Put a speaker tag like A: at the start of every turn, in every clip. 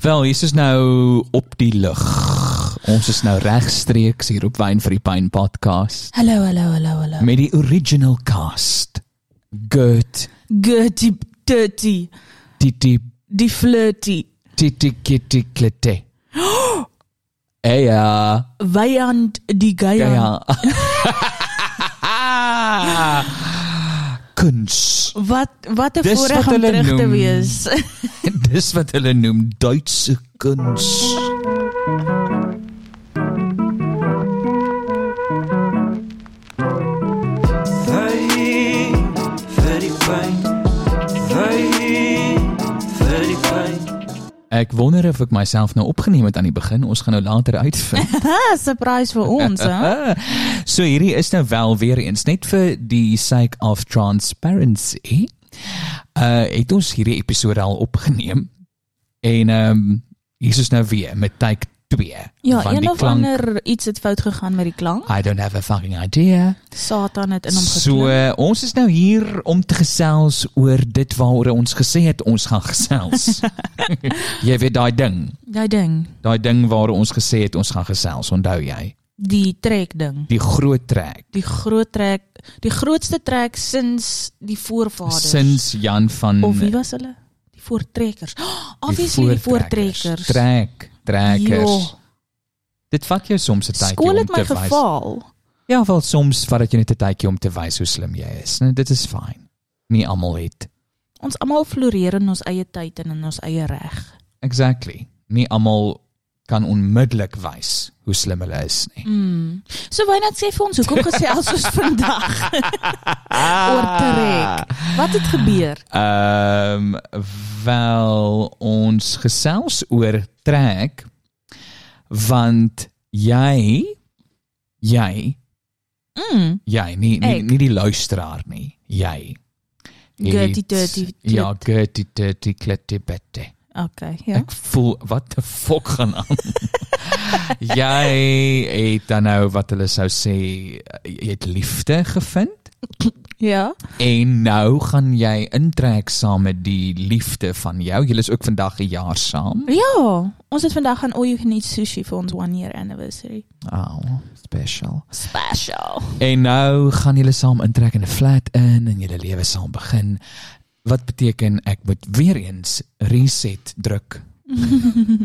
A: Wel, hier's is nou op die lug. Ons is nou regstreeks hier op Wyn vir die Pyn podcast
B: Hallo, hallo, hallo, hallo.
A: met die original cast. Gert,
B: Gertie, dirty,
A: Titi,
B: die flirty,
A: Titi Kitty Klete. Hey ja.
B: Weyand, die
A: Ja.
B: Geier.
A: ja. Kuns.
B: Wat, wat een
A: Dis
B: voorrecht
A: wat
B: om
A: hulle
B: terug te
A: noem.
B: wees.
A: Dis wat hulle noem Duitse kuns.
C: Wyn vir die pyn. Wyn vir die pyn.
A: Ek wonder of ek myself nou opgeneem het aan die begin. Ons gaan nou later uitvind.
B: Ah, surprise vir ons,
A: Ah,
B: hè?
A: So hierdie is nou wel weer eens net vir die sake of transparency. Uh het ons hierdie episode al opgeneem en ehm um, hier is nou weer met take 2.
B: Ja,
A: want
B: een
A: die
B: of ander iets het fout gegaan met die klank.
A: I don't have a fucking idea.
B: Satan het in hom
A: So
B: geklim.
A: uh, ons is nou hier om te gesels oor dit waaroor ons gesê het ons gaan gesels. jy weet daai ding,
B: Daai ding,
A: daai ding waaroor ons gesê het ons gaan gesels, onthou jy?
B: die trek ding,
A: Die groot trek
B: die groot trek, die grootste trek sinds die voorvaders.
A: sinds Jan van
B: Of wie was hulle? Die voortrekkers. Oh, obviously die voortrekkers.
A: Trek, trekkers.
B: Jo.
A: Dit vat jou soms 'n tydjie
B: Skool
A: om
B: het my
A: te wys.
B: geval.
A: Ja, wel soms vat dit jou net 'n tydjie om te wys hoe slim jy is. Nou, dit is fyn. Nie almal het.
B: Ons almal floreer in ons eie tyd en in ons eie reg.
A: Exactly. Nie almal kan onmiddellik wys hoe slim hulle is nie.
B: Mm. So Wynand sê vir ons, hoekom gesels ons vandag oor trek? Wat het gebeur?
A: Ehm wel ons gesels oor trek want jy jy
B: Mm.
A: jy nie nie,
B: Ek.
A: nie die luisteraar nie jy
B: Gertie,
A: het-
B: dirty, klit.
A: ja gerty dirty klitty bitte
B: Okay, ja.
A: ek voel wat die fok gaan aan jy het dan nou wat hulle sou sê jy het liefde gevind
B: Ja.
A: En nou gaan jy intrek saam met die liefde van jou. Julle is ook vandag 'n jaar saam.
B: Ja, ons het vandag gaan All You Can Eat sushi vir ons 1 year anniversary.
A: Au, oh, special.
B: Special.
A: En nou gaan julle saam intrek in 'n flat in en julle lewe saam begin. Wat beteken ek moet weer eens reset druk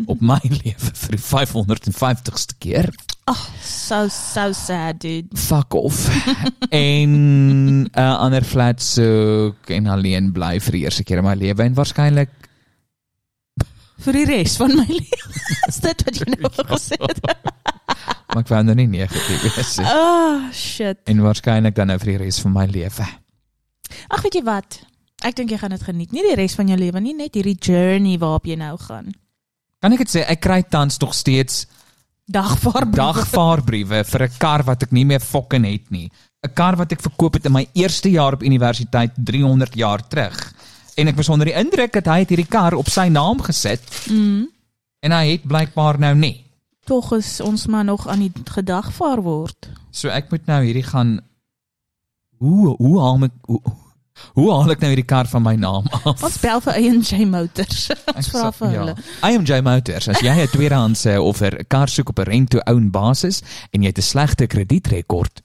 A: op my lewe vir die 550ste keer.
B: Ah, So so sad, dude.
A: Fuck off. en 'n ander flat soek en alleen bly vir die eerste keer in my lewe en waarskynlik
B: Vir die res van my lewe. Is dit wat jy nou gesê het?
A: maar ek wou nou nie negatief wees nie.
B: Oh, shit.
A: en waarskynlik dan nou vir die res van my lewe.
B: Ag, weet jy wat? Ek dink jy gaan dit geniet. Nie die res van jou lewe nie, net hierdie journey waarop jy nou gaan.
A: Kan ek dit sê, ek kry tans nog steeds
B: Dagvaarbriewe.
A: dagvaarbriewe vir 'n kar wat ek nie meer fucking het nie. 'n Kar wat ek verkoop het in my eerste jaar op universiteit 300 jaar terug. En ek was onder die indruk dat hy het hierdie kar op sy naam gesit. Mm. En hy het blykbaar nou nie.
B: Tog is ons maar nog aan die gedagvaar word.
A: So ek moet nou hierdie gaan hoe hoe haal ek hoe, hoe haal ek nou hierdie kar van my naam af?
B: Ons bel vir A&J Motors. Ons
A: Ek
B: vra
A: sal-
B: vir
A: ja.
B: hulle.
A: IMJ Motors, as jy 'n tweedehandse of 'n kar soek op 'n rent-to-own basis en jy het 'n slegte kredietrekord,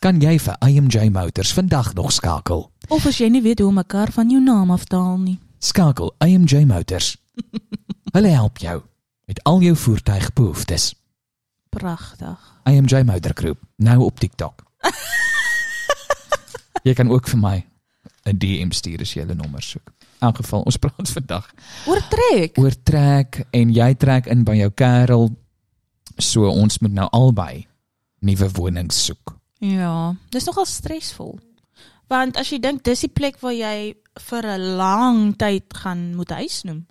A: kan jy vir IMJ Motors vandag nog skakel.
B: Of as jy nie weet hoe om 'n kar van jou naam af te haal nie.
A: Skakel IMJ Motors. Hulle help jou met al jou voertuigbehoeftes.
B: Pragtig.
A: IMJ Motor Groep, nou op TikTok. jy kan ook vir my 'n DM stuur as jy hulle nommer soek. In elk geval, ons praat vandag
B: Oortrek.
A: oortrek en jy trek in by jou kerel. So ons moet nou albei nuwe wonings soek.
B: Ja, dis nogal stresvol. Want as jy dink dis die plek waar jy vir 'n lang tyd gaan moet huis noem.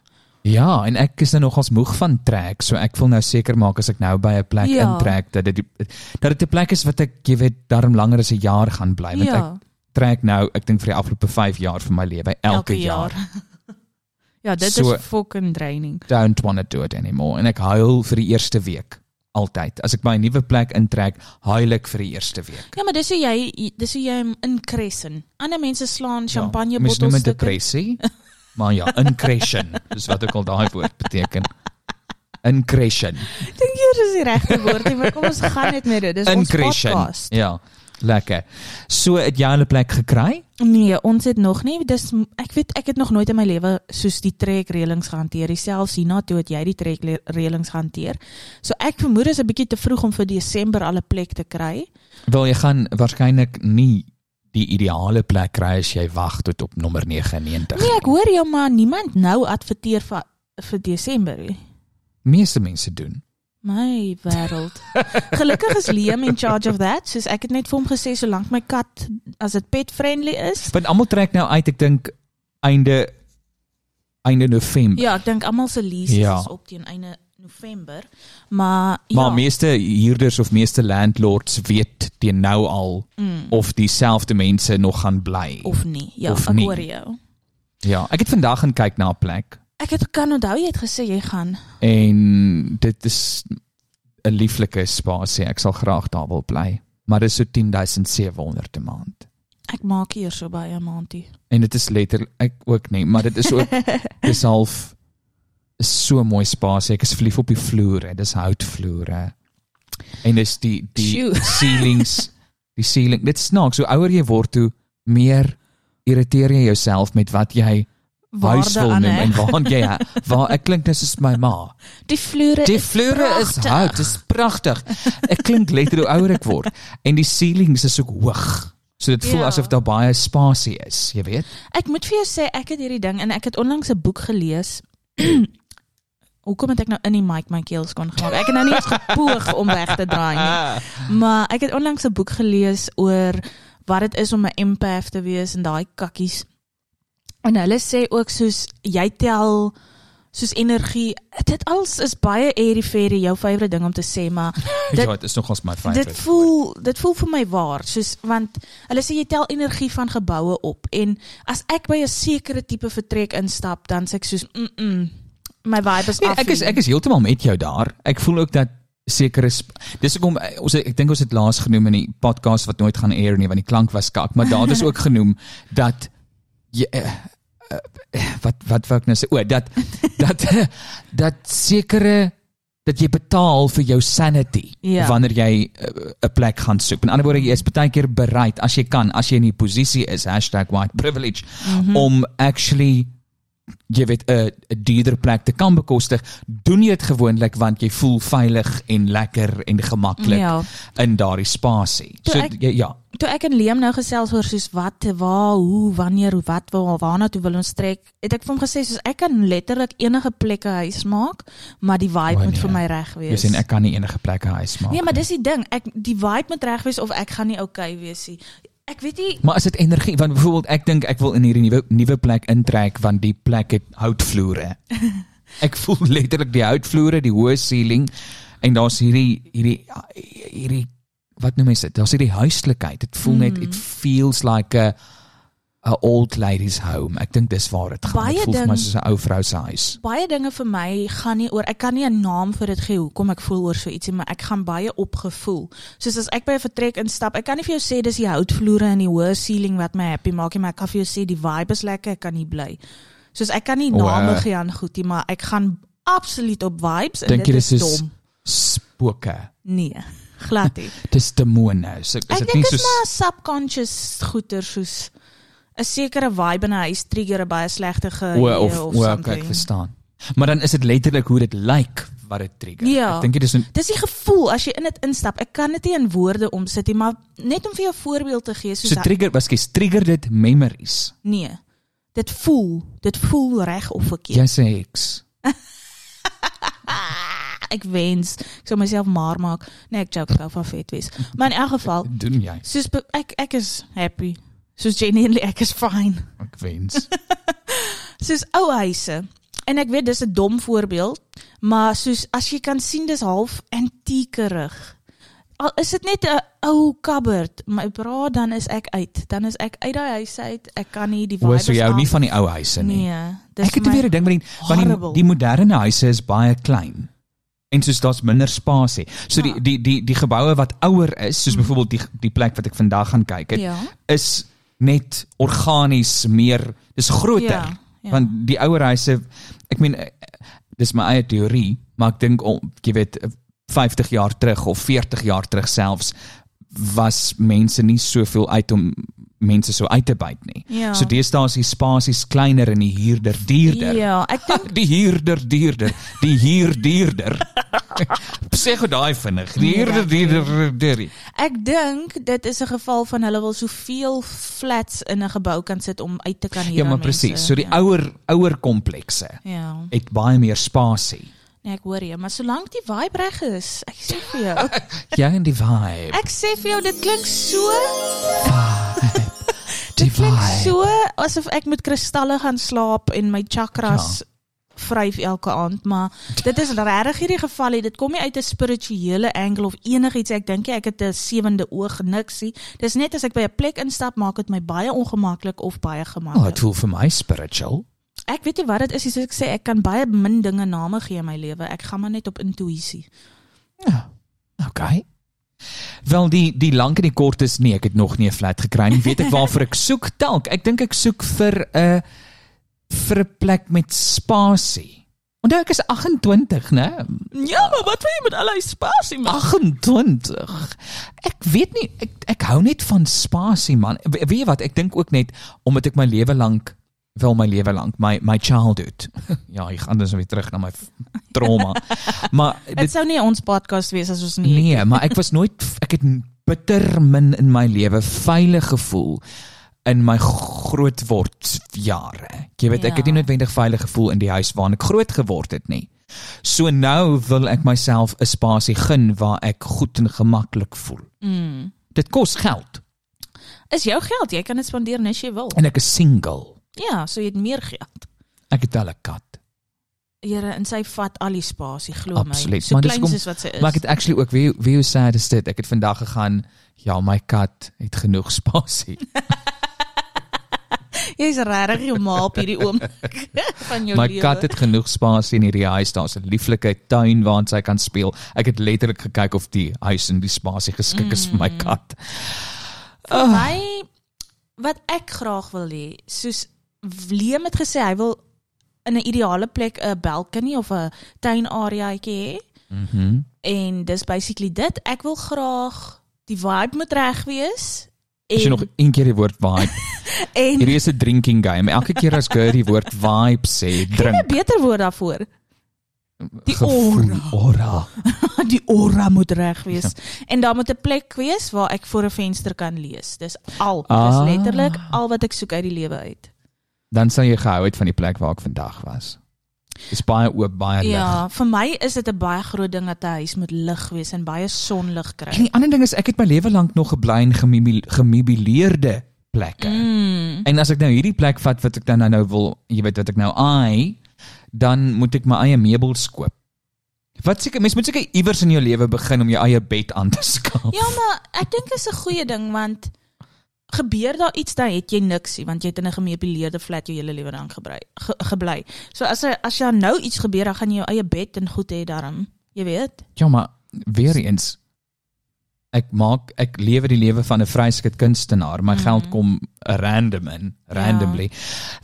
A: Ja, en ek is nou nogals moeg van trek, so ek wil nou seker maak as ek nou by 'n plek
B: Ja.
A: intrek dat dit die- dat dit 'n plek is wat ek, jy weet, darm langer as 'n jaar gaan bly, want ek
B: Ja,
A: trek nou, ek dink vir die afgelope 5 jaar van my lewe elke, jaar.
B: ja, dit
A: So-
B: is fucking draining.
A: Don't want to do it anymore en ek huil vir die eerste week altyd. As ek by 'n nuwe plek intrek, huil ek vir die eerste week.
B: Ja, maar dis hoe jy dis hoe jy hom inkressen. Ander mense slaan champagne
A: ja, mens noem
B: bottels
A: dit depressie. maar ja, incretion, dis wat ook al daai woord beteken. Incretion.
B: Ek dink hier is die regte woord, nie, maar kom ons gaan net met dit. Dis ons
A: Incretion.
B: podcast.
A: Ja. Lekker. So het jy 'n plek gekry?
B: Nee, ons het nog nie. Dis ek weet ek het nog nooit in my lewe soos die trekreëlings gehanteer. nie. Selfs hierna toe het jy die trekreëlings gehanteer. So ek vermoed dit is 'n bietjie te vroeg om vir Desember al 'n plek te kry.
A: Wel jy gaan waarskynlik nie die ideale plek kry as jy wag tot op nommer 99.
B: Nee, ek hoor jou maar niemand nou adverteer vir vir Desember nie.
A: Meeste mense doen.
B: My wêreld. Gelukkig is Liam in charge of that. Soos ek het net vir hom gesê solank my kat as dit pet friendly is.
A: Want almal trek nou uit, ek dink einde einde November.
B: Ja, ek dink almal se leases
A: Ja.
B: is op teen einde November, maar ja.
A: Maar meeste huurders of meeste landlords weet teen nou al
B: mm,
A: of dieselfde mense nog gaan bly.
B: of nie. Ja,
A: Of
B: ek
A: nie.
B: hoor jou.
A: Ja, ek het vandag gaan kyk na 'n plek
B: Ek het kan onthou jy het gesê jy gaan.
A: en dit is 'n lieflike spasie. Ek sal graag daar wil bly, maar dit is so 10700 'n maand.
B: Ek maak hier so baie 'n maandie.
A: En dit is letterlik ek ook nie, maar dit is ook dis half is so 'n mooi spasie. Ek is verlief op die vloere. Dis houtvloere. En dis die die
B: Sjoe.
A: ceilings, die ceiling. Dit snaaks. Hoe ouer jy word, hoe meer irriteer jy jouself met wat jy huis
B: Waarde
A: wil
B: aan
A: noem en
B: hè.
A: waar jy waar ek klink net soos my ma.
B: Die vloere
A: Die
B: is
A: vloere is
B: pragtig.
A: hout, dis pragtig. Ek klink letter hoe ouer ek word en die ceilings is ook hoog. So dit voel
B: Ja.
A: ja. asof daar baie spasie is, jy weet.
B: Ek moet vir jou sê ek het hierdie ding en ek het onlangs 'n boek gelees. Hoekom het ek nou in die mic my keel skoon gemaak? Ek het nou nie eens gepoog om weg te draai nie. Maar ek het onlangs 'n boek gelees oor wat dit is om 'n empath te wees en daai kakkies. En hulle sê ook soos jy tel soos energie. Dit alles is baie airy fairy jou favourite ding om te sê, maar
A: Dit,
B: Dit-
A: ja, dit is nogals my
B: dit
A: favourite.
B: voel dit voel vir my waar, soos want hulle sê jy tel energie van geboue op en as ek by 'n sekere tipe vertrek instap, dan sê ek soos mm, -mm my vibe is
A: Nee,
B: af.
A: ek is ek is heeltemal met jou daar. Ek voel ook dat sekere sp- dis hoekom eh, ons ek dink ons het laas genoem in die podcast wat nooit gaan air nie want die klank was kak, maar daar is ook genoem dat jy eh, eh, eh, wat wat wou ek nou sê? O, dat dat dat sekere dat jy betaal vir jou sanity
B: Ja.
A: wanneer jy eh, 'n plek gaan soek. In ander woorde, jy is baie keer bereid as jy kan, as jy in die posisie is #whiteprivilege mm
B: Mhm.
A: -hmm. om actually jy weet 'n 'n duurder plek te kan bekostig, doen jy dit gewoonlik want jy voel veilig en lekker en gemaklik
B: Mm, Ja.
A: in daardie spasie.
B: Toe
A: So
B: ek-
A: jy, ja,
B: toe ek en Liam nou gesels oor soos wat, waar, hoe, wanneer, hoe, wat wil, waarna toe wil ons trek, het ek vir hom gesê soos ek kan letterlik enige plek 'n huis maak, maar die vibe
A: O,
B: moet
A: nee.
B: vir my reg wees.
A: jy sien ek kan nie enige plek 'n huis maak.
B: Nee, maar dis die ding, ek die vibe moet reg wees of ek gaan nie okay wees nie. Ek weet nie
A: Maar as dit energie, want byvoorbeeld ek dink ek wil in hierdie nuwe nuwe plek intrek want die plek het houtvloere. ek voel letterlik die houtvloere, die hoë ceiling en daar's hierdie hierdie hierdie wat noem mense dit? Daar's hierdie huislikheid. Dit voel mm. net it feels like a a old lady's home. Ek dink dis waar dit gaan.
B: Baie
A: dit voel vir my
B: ding-
A: soos 'n ou vrou se huis.
B: baie dinge vir my gaan nie oor ek kan nie 'n naam vir dit gee hoekom ek voel oor so ietsie, maar ek gaan baie opgevoel. Soos as ek by 'n vertrek instap, ek kan nie vir jou sê dis die houtvloere en die hoë ceiling wat my happy maak nie, maar ek kan vir jou sê die vibe is lekker, ek kan hier bly. Soos ek kan nie
A: O,
B: name
A: eh.
B: gee aan goedie, maar ek gaan absoluut op vibes en
A: Dink
B: dit
A: jy
B: is
A: dis soos-
B: dom.
A: Spooke.
B: Nee, glad nie.
A: Dis demone. So is
B: ek
A: dit
B: dink
A: nie
B: dit is maar
A: soos
B: subconscious goeter soos 'n sekere vibe in 'n huis trigger 'n baie slegte
A: o
B: geheue
A: of
B: of
A: o ok,
B: something.
A: ek verstaan. Maar dan is dit letterlik hoe dit lyk wat dit trigger.
B: Ja.
A: Ek dink dit is 'n
B: Dis die gevoel as jy in dit instap. Ek kan dit nie in woorde omsit nie, maar net om vir jou 'n voorbeeld te gee soos
A: So trigger waskes trigger dit memories.
B: nee. Dit voel, dit voel reg of verkeerd.
A: Jy's 'n heks.
B: Ek wens ek sou myself maar maak. Nee, ek joke ek hou van vet wees. Maar in elk geval,
A: Wat doen jy?
B: soos be- ek ek is happy. Soos genuinely ek is fine.
A: Ek wens.
B: soos ou huise. En ek weet dis 'n dom voorbeeld, maar soos as jy kan sien dis half antiekerig. Al is dit net 'n ou cupboard, my bra, dan is ek uit. Dan is ek uit daai huis uit. Ek kan nie die vibe
A: Hoor so
B: is
A: jy hou
B: af.
A: nie van die ou huise nie.
B: Nee, dis
A: Ek het
B: vir my-
A: weer 'n ding met die want die,
B: horrible.
A: die moderne huise is baie klein. En soos daar's minder spasie. So die
B: Ah.
A: die die die geboue wat ouer is, soos byvoorbeeld die die plek wat ek vandag gaan kyk het,
B: Mm. Ja.
A: is net organies meer, dis groter.
B: Ja, ja.
A: Want die ouer huise, ek meen eh, dis my eie teorie, maar ek dink om jy weet 50 jaar terug of 40 jaar terug selfs was mense nie soveel uit om mense so uit te byt nie.
B: Ja.
A: So deesdae is die spasies kleiner en die huurder duurder.
B: Ja, ek dink
A: Die huurder duurder, die huurduurder. Sê gou daai vinnig.
B: Nee,
A: Die huurder duurder duurder. Ja,
B: Ek dink dit is 'n geval van hulle wil soveel flats in 'n gebou kan sit om uit te kan huur.
A: Ja, maar
B: aan mense.
A: presies. So die
B: ja.
A: ouer ouer komplekse
B: Ja.
A: het baie meer spasie.
B: Nee, ek hoor jou, maar solank die vibe reg is, ek sê vir jou.
A: Jy en die vibe.
B: Ek sê vir jou dit klink so,
A: Die
B: klink
A: vibe.
B: so asof ek met kristalle gaan slaap en my chakras vryf elke aand, maar dit is regtig hierdie geval, hier. dit kom nie uit 'n spirituele angle of enigiets. Ek dink nie ek het 'n sewende oog niks nie. Dis net as ek by 'n plek instap, maak dit my baie ongemaklik of baie
A: Oh,
B: gemaklik.
A: dit voel vir my spiritual.
B: Ek weet nie wat dit is nie, soos ek sê, ek kan baie min dinge name gee in my lewe. Ek gaan maar net op intuïsie.
A: Ja. Okay. Wel die die lank en die kort is nee, ek het nog nie 'n flat gekry nie. Weet ek waarvoor ek soek? Dalk. Ek dink ek soek vir 'n vir 'n plek met spasie. Onthou ek is 28, né?
B: Ja, maar wat wil jy met al daai spasie
A: 28. Ek weet nie ek ek hou net van spasie man. We- Weet jy wat? Ek dink ook net omdat ek my lewe lank wel my lewe lank my my childhood. ja, ek gaan dus weer terug na my f- trauma. maar
B: Dit
A: dit
B: sou nie ons podcast wees as ons nie.
A: nee, maar ek was nooit ek het bitter min in my lewe veilig gevoel in my grootword jare. Jy weet, ek het nie
B: Ja.
A: noodwendig veilig gevoel in die huis waarin ek groot geword het nie. So nou wil ek myself 'n spasie gun waar ek goed en gemaklik voel.
B: Mm.
A: Dit kos geld
B: Is jou geld, jy kan dit spandeer net as jy wil.
A: en ek is single.
B: Ja, so jy het meer geld.
A: Ek het al 'n kat.
B: Here, en sy vat al die spasie, glo my.
A: Absoluut,
B: So
A: maar dis
B: klein
A: kom-
B: soos wat sy is.
A: Maar ek het actually ook wie wie hoe sad is dit? Ek het vandag gegaan, ja, my kat het genoeg spasie.
B: Jy's regtig jou ma op hierdie oom van jou
A: My
B: lewe.
A: kat het genoeg spasie in hierdie huis. Daar's 'n lieflike tuin waarin sy kan speel. Ek het letterlik gekyk of die huis en die spasie geskik is vir my
B: Mm.
A: kat.
B: Vir my wat ek graag wil hê, soos Liam het gesê hy wil in 'n ideale plek 'n balcony of 'n tuinareaatjie hê.
A: Mhm.
B: En dis basically dit. Ek wil graag die vibe moet reg wees.
A: As jy nog een keer die woord vibe.
B: en
A: Hierdie is 'n drinking game. Elke keer as Gert die woord vibe sê,
B: en 'n
A: drink.
B: beter woord daarvoor. Die
A: Gevoel, aura.
B: Die aura moet reg wees. En daar moet 'n plek wees waar ek voor 'n venster kan lees. Dis al.
A: Ah.
B: Dis letterlik al wat ek soek uit die lewe uit.
A: Dan sal jy gehou het van die plek waar ek vandag was. Dis baie oop, baie lig.
B: Ja, vir my is dit 'n baie groot ding dat 'n huis moet lig wees en baie sonlig
A: En
B: kry.
A: die ander ding is ek het my lewe lank nog gebly in gemimil- gemeubileerde plekke.
B: Mm.
A: En as ek nou hierdie plek vat wat ek dan nou, nou wil, jy weet wat ek nou ai, dan moet ek my eie meubels koop. Wat seker mens moet seker iewers in jou lewe begin om jou eie bed aan te skaaf.
B: Ja, maar ek dink is 'n goeie ding want gebeur daar iets dan het jy niks nie want jy het in 'n gemeubileerde flat jou hele lewe lank gebly ge, gebly. So as er, as jy nou iets gebeur, dan gaan jy jou eie bed en goed hê daarom. Jy weet.
A: ja maar weer eens ek maak ek lewe die lewe van 'n vryskut kunstenaar.
B: Mhm.
A: My mm. geld kom random in, randomly. Ja.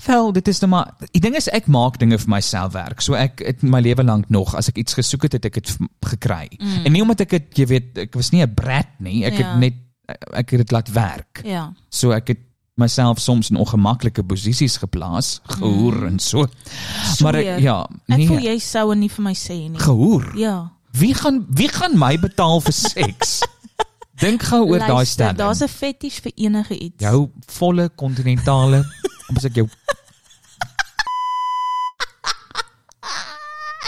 A: Wel, dit is nou maar die ding is ek maak dinge vir myself werk. So ek het my lewe lank nog as ek iets gesoek het, het ek dit v- gekry. Mm. En nie omdat ek dit, jy weet, ek was nie 'n brat nie. Ek ja.
B: Mhm. Ja.
A: het net ek het dit laat werk.
B: Ja.
A: So ek het myself soms in ongemaklike posisies geplaas, gehoor mm. en so. Maar ek,
B: Sweer.
A: ja,
B: Mhm. Ek nee. voel
A: nee,
B: jy sou en nie vir my sê nie.
A: gehoor.
B: Ja.
A: Wie gaan wie gaan my betaal vir seks? Dink gou oor daai
B: Luister,
A: stelling.
B: Daar's
A: Ja,
B: 'n fetish vir enige iets.
A: Jou volle kontinentale, ons ek jou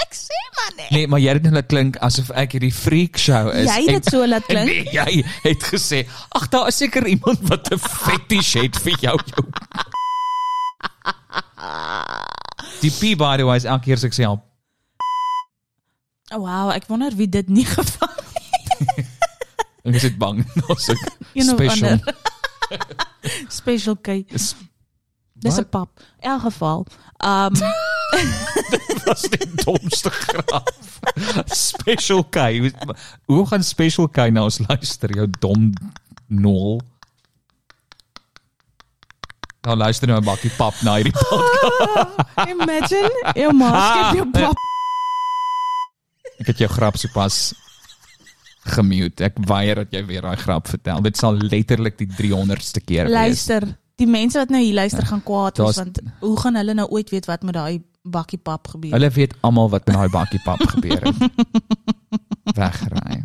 B: Ek sê maar nee.
A: nee, maar jy het net klink asof ek hierdie freak show is.
B: Jy het dit so laat klink.
A: Nee, jy het gesê, ag daar is seker iemand wat 'n fetish het vir jou jou. Die P by the way is elke keer as ek sê help.
B: Oh, wow, ek wonder wie dit nie gevang het.
A: Ek is dit bang. Ons is
B: Een of
A: special.
B: ander. Special K.
A: Dis
B: Dis 'n
A: Wat?
B: pap. In elk geval. Um
A: was die domste grap. Special K. Hoe- Hoe gaan Special K na ons luister, jou dom nol? Nou luister nou 'n bakkie pap na hierdie podcast.
B: Ja, Imagine jou ma skep jou pap
A: Ek het jou grap sopas gemute. Ek weier dat jy weer daai grap vertel. Dit sal letterlik die 300ste keer wees.
B: Luister, die mense wat nou hier luister gaan kwaad wees
A: Daar's-
B: want hoe gaan hulle nou ooit weet wat met daai bakkie pap gebeur?
A: Hulle weet almal wat met daai bakkie pap gebeur het. Weggery.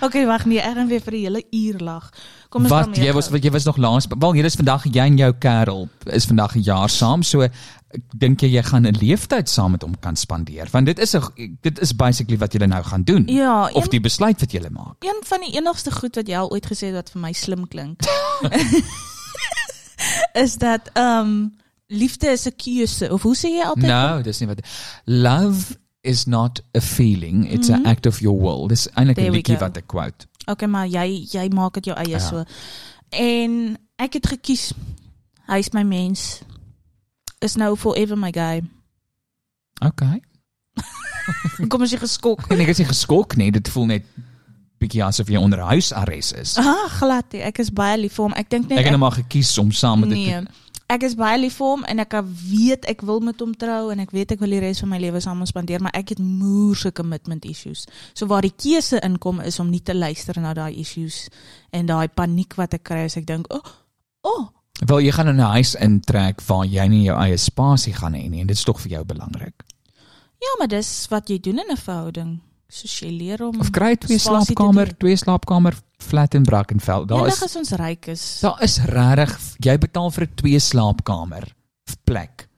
B: Okay, wag nee, ek gaan weer vir die hele uur lag. Kom ons
A: Wat jy was wat jy was nog laas. Wel, hier is vandag jy en jou kerel is vandag 'n jaar saam. So ek dink jy jy gaan 'n leeftyd saam met hom kan spandeer want dit is 'n dit is basically wat jy nou gaan doen.
B: Ja,
A: of
B: een-
A: die besluit wat jy maak.
B: Een van die enigste goed wat jy al ooit gesê het wat vir my slim klink. is dat ehm liefde is 'n keuse of hoe sê jy altyd?
A: No, Nou, dis nie wat love is not a feeling, it's mm -hmm. an act of your will. Dis eintlik 'n
B: Mhm. There we
A: liedjie
B: go.
A: wat ek quote.
B: Okay, maar jy jy maak dit jou eie
A: Ja.
B: so. En ek het gekies. Hy is my mens. Is nou forever my guy.
A: Okay.
B: Kom as jy geskok.
A: En ek Nee, is nie geskok nie, dit voel net bietjie asof jy onder huisarrest is.
B: Ah, glad. nie. Ek is baie lief vir hom. Ek dink net
A: Ek het nou maar gekies om saam met dit
B: nee. Ek is baie lief vir hom en ek weet ek wil met hom trou en ek weet ek wil die res van my lewe saam met hom spandeer, maar ek het moerse commitment issues. So waar die keuse inkom is om nie te luister na daai issues en daai paniek wat ek kry as ek dink, "O, oh, o, oh,
A: Wel, jy gaan in 'n huis intrek waar jy nie jou eie spasie gaan hê nie en dit is tog vir jou belangrik.
B: ja, maar dis wat jy doen in 'n verhouding." So jy leer om
A: Of kry twee
B: spasie te
A: slaapkamer,
B: doen.
A: twee slaapkamer flat in Brackenfell. Daar
B: Eendag
A: is
B: as ons ryk is.
A: daar is regtig jy betaal vir 'n twee slaapkamer plek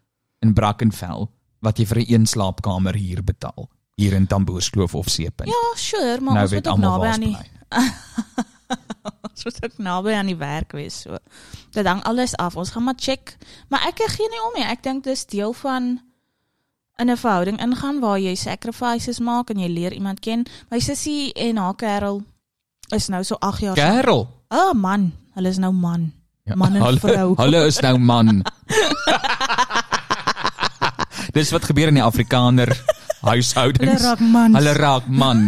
A: in Brackenfell wat jy vir 'n een slaapkamer hier betaal hier in Tamboerskloof of Seepunt.
B: Ja, sure, maar
A: nou
B: ons
A: weet
B: moet ook
A: almal
B: naby
A: waar
B: aan
A: ons
B: die
A: bly.
B: ons moet ook naby aan die werk wees so. Dit hang alles af. Ons gaan maar check, maar ek gee nie om nie. Ek dink dis deel van in 'n verhouding ingaan waar jy sacrifices maak en jy leer iemand ken. My sussie en haar kerel is nou so 8 jaar.
A: Kerel.
B: O oh, man, hulle is nou man.
A: Ja,
B: Man en
A: hulle-
B: vrou.
A: Hulle is nou man. Dis wat gebeur in die Afrikaner
B: Hulle
A: huishoudings.
B: raak mans.
A: Hulle raak man.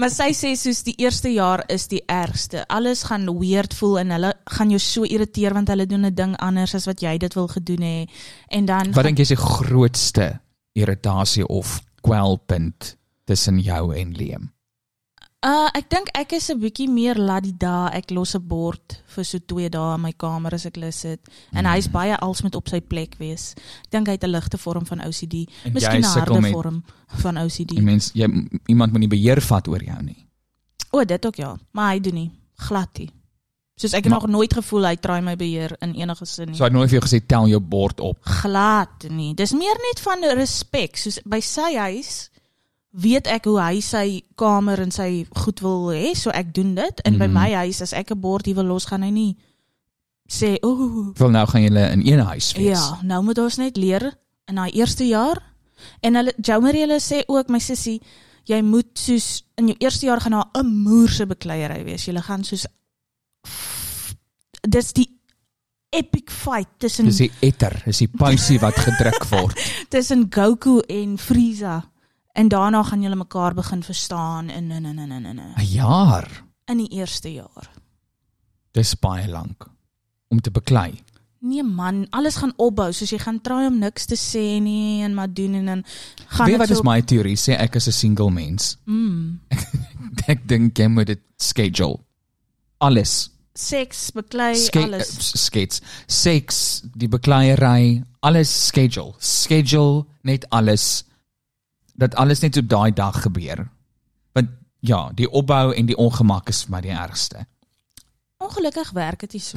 B: Maar sy sê soos die eerste jaar is die ergste. Alles gaan weird voel en hulle gaan jou so irriteer want hulle doen 'n ding anders as wat jy dit wil gedoen hê. En dan
A: Wat dink jy is die grootste irritasie of kwelpunt tussen jou en Liam?
B: Uh ek dink ek is 'n bietjie meer laat die dae. Ek los 'n bord vir so 2 dae in my kamer as ek lus het en hy
A: Mm.
B: hy's baie als met op sy plek wees. Ek dink hy het 'n ligte vorm van OCD,
A: En
B: miskien
A: jy
B: 'n
A: sukkel
B: harde
A: met-
B: vorm van
A: Die
B: OCD.
A: mens jy iemand moet nie beheer vat oor jou nie.
B: O, dit ook ja, maar hy doen nie glad nie. Soos ek het
A: Maar-
B: nog nooit gevoel hy try my beheer in enige sin nie.
A: So hy het nooit vir jou gesê tel jou bord op.
B: glad nie. Dis meer net van respek, soos by sy huis weet ek hoe hy sy kamer en sy goed wil hê, so ek doen dit. En mm. by
A: Mhm.
B: my huis as ek 'n bord hier wil los, gaan hy nie sê, "Ooh,
A: Wel nou gaan julle in een huis wees.
B: ja, nou moet ons net leer in daai eerste jaar." En hulle Joumarie hulle sê ook my sussie, jy moet soos in jou eerste jaar gaan daar 'n moerse bekleierery wees. Jy gaan soos dis die epic fight tussen
A: Dis die etter, dis die puisie wat gedruk word.
B: tussen Goku en Frieza. En daarna gaan julle mekaar begin verstaan in in in in in in
A: 'n Jaar.
B: in die eerste jaar.
A: Dis baie lank om te beklei.
B: Nee man, alles gaan opbou, soos jy gaan try om niks te sê nie en maar doen en dan gaan
A: Weet jy wat
B: dit
A: is
B: so
A: my teorie? Sê ek is 'n single mens.
B: mm,
A: Ek dink jy moet dit schedule. Alles.
B: seks beklei
A: Ske
B: alles.
A: eh, s- skates, seks, die bekleierery, alles schedule. Schedule net alles dat alles net op daai dag gebeur. Want ja, die opbou en die ongemak is vir my die ergste.
B: Ongelukkig werk dit nie so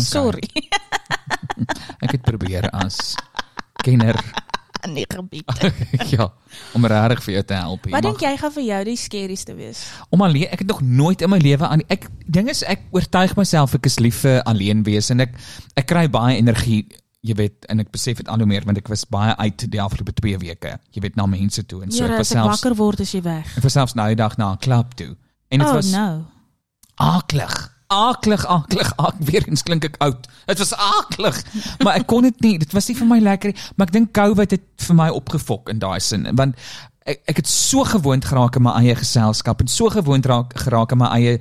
B: Sorry.
A: Ek het probeer as kenner
B: In die Nee, gebied.
A: ja, om regtig vir jou te help. Jy mag-
B: Wat dink jy gaan vir jou die skerieste wees?
A: om alleen ek het nog nooit in my lewe aan ek ding is ek oortuig myself ek is lief vir alleen wees en ek ek kry baie energie jy weet en ek besef dit al hoe meer want ek was baie uit die afgelope 2 weke jy weet na mense toe en so
B: Jare,
A: ek
B: as
A: was
B: ek
A: selfs
B: wakker word as jy weg.
A: ek was selfs nou die dag na 'n klub toe en dit
B: Oh
A: was
B: no.
A: aklig aklig aklig ak weer eens klink ek oud dit was aklig maar ek kon dit nie dit was nie vir my lekker nie maar ek dink COVID het vir my opgefok in daai sin want ek ek het so gewoond geraak aan my eie geselskap en so gewoond raak geraak aan my eie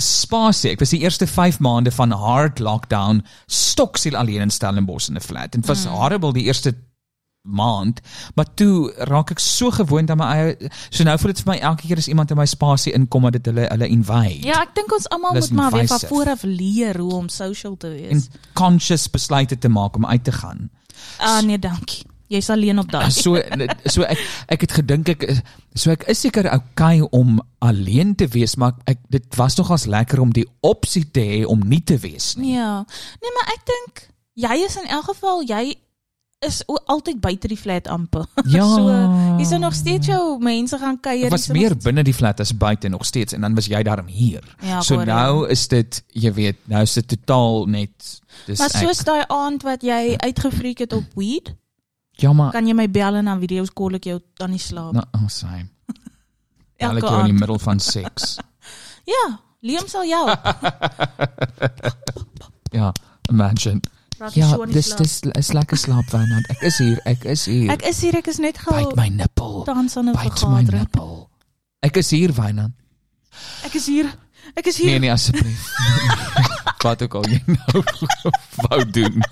A: spasie. Ek was die eerste 5 maande van hard lockdown stoksiel alleen in Stellenbosch in 'n flat. En dit was mm. horrible die eerste maand, maar toe raak ek so gewoond aan my eie so nou voel dit vir my elke keer as iemand in my spasie inkom dat dit hulle hulle invite
B: Ja, ek dink ons almal
A: Dis
B: moet maar weer van
A: invasive.
B: vooraf leer hoe om social te
A: en
B: wees.
A: conscious besluite te maak om uit te gaan.
B: Ah nee, dankie. Jy's alleen op daai.
A: So so ek ek het gedink ek is- so ek is seker okay om alleen te wees, maar ek dit was nogals lekker om die opsie te hê om nie te wees nie.
B: Ja. Nee, maar ek dink jy is in elk geval jy is o- altyd buite die flat amper.
A: Ja.
B: so jy sou nog steeds jou mense gaan kuier.
A: Ek was
B: jy sou nog
A: meer binne die flat as buite nog steeds en dan was jy daarom hier.
B: Ja,
A: so
B: hoor, ja.
A: nou is dit, jy weet, nou is dit totaal net dis
B: Maar
A: ek.
B: soos daai aand wat jy uitgefreek het op weed,
A: ja maar
B: kan jy my bel en dan video's call ek jou dan nie slaap.
A: nou oh, same.
B: elke
A: Elke keer in die
B: aand.
A: middel van seks.
B: Ja, Liam sal jou.
A: ja, imagine.
B: Raak jy
A: Ja,
B: so in die
A: dis
B: slaap.
A: dis is lekker slaap want ek is hier, ek is hier.
B: Ek is hier, ek is net gou
A: byt my nippel.
B: tans aan 'n
A: Byt my
B: vergadering.
A: nippel. Ek is hier, Wynand.
B: Ek is hier. Ek is
A: Nee
B: hier.
A: nee asseblief. Wat ook al jy nou wou doen.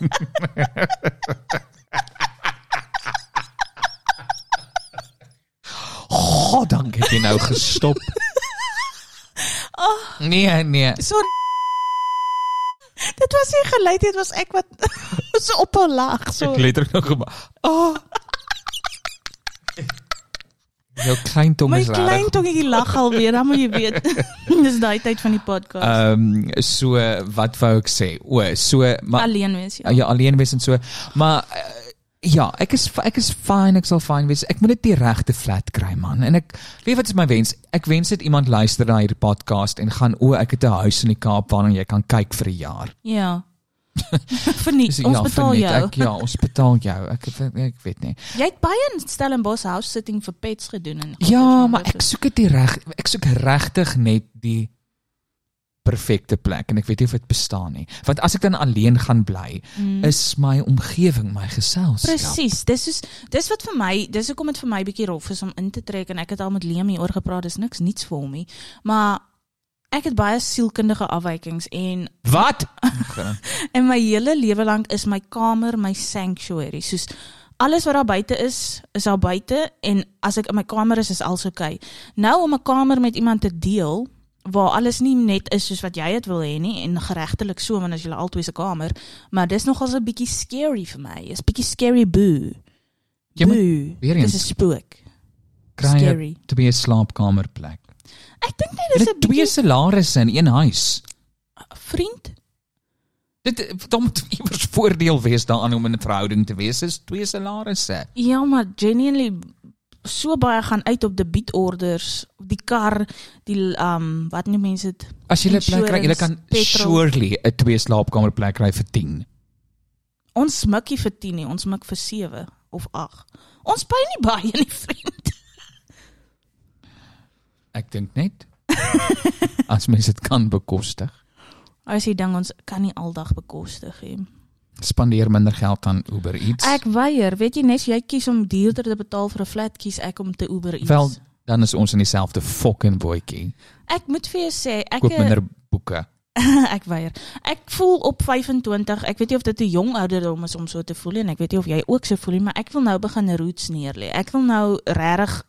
A: God, dank het jy nou gestop.
B: Ah.
A: Nee, nee.
B: Sorry. Dit was nie geluid, dit was ek wat so ophou lag so. Ah.
A: Ek letterlik nou gemaak. Oh. Jou klein tong
B: My
A: is rarig.
B: klein tongetjie lag alweer, dan moet jy weet. Dis daai tyd van die podcast.
A: Ehm so wat wou ek sê? O, so maar Ah,
B: Alleen wees
A: ja,
B: jy.
A: ja alleen wees en so. Maar eh, ja, ek is ek is fine, ek sal fine wees. Ek moet net die regte flat kry man. En ek weet wat is my wens? Ek wens dit iemand luister na hierdie podcast en gaan o, ek het 'n huis in die Kaap waarna jy kan kyk vir 'n jaar.
B: Ja. Verniet,
A: Dis-
B: ons
A: ja,
B: betaal
A: verniet,
B: jou.
A: Ek, ja, ons betaal jou. Ek ek, ek weet nie.
B: Jy het baie in Stellenbosch house sitting vir pets gedoen en
A: Ja, maar ek soek dit die reg ek soek regtig net die perfekte plek en ek weet nie of dit bestaan nie. Want as ek dan alleen gaan bly,
B: Mm.
A: is my omgewing my ja. geselskap.
B: Presies, dis soos dis wat vir my, dis hoekom dit vir my bietjie rof is om in te trek en ek het al met Liam hieroor gepraat, dis niks niets vir hom nie. Maar ek het baie sielkundige afwykings en
A: Wat?
B: in my hele lewe lank is my kamer my sanctuary. Soos alles wat daar buite is, is daar buite en as ek in my kamer is, is alles oukei. Okay. Nou om 'n kamer met iemand te deel waar alles nie net is soos wat jy dit wil hê nie en geregtelik so want as jy albei se kamer, maar dis nogals 'n bietjie scary vir my. Is bietjie scary boo.
A: Jy moet
B: Boo.
A: weer
B: Dis
A: eens-
B: 'n spook.
A: kry
B: Scary.
A: 'n twee slaapkamerplek.
B: Ek dink net
A: Jy
B: dis
A: het
B: 'n
A: twee
B: bietjie
A: salarisse in een huis.
B: vriend.
A: Dit dan moet iewers voordeel wees daaraan om in 'n verhouding te wees is twee salarisse.
B: Ja, maar genuinely so baie gaan uit op debietorders, die kar, die ehm um, wat noem mense dit?
A: As jy 'n plek kry, jy
B: Insurance,
A: kan
B: petrol.
A: surely 'n twee slaapkamerplek kry vir 10.
B: Ons smik nie vir 10 nie, ons smik vir 7 of 8. Ons pyn nie baie nie, vriend.
A: Ek dink net as mens dit kan bekostig.
B: As jy dink ons kan nie aldag bekostig nie.
A: Spandeer minder geld aan Uber Eats.
B: Ek weier, weet jy net jy kies om duurder te betaal vir 'n flat, kies ek om te Uber iets.
A: Wel, dan is ons in dieselfde fucking bootjie.
B: ek moet vir jou sê, ek eh,
A: Koop minder boeke.
B: ek weier. Ek voel op 25, ek weet nie of dit 'n jong ouderdom is om so te voel nie, en ek weet nie of jy ook so voel nie, maar ek wil nou begin roots neerlê. Ek wil nou regtig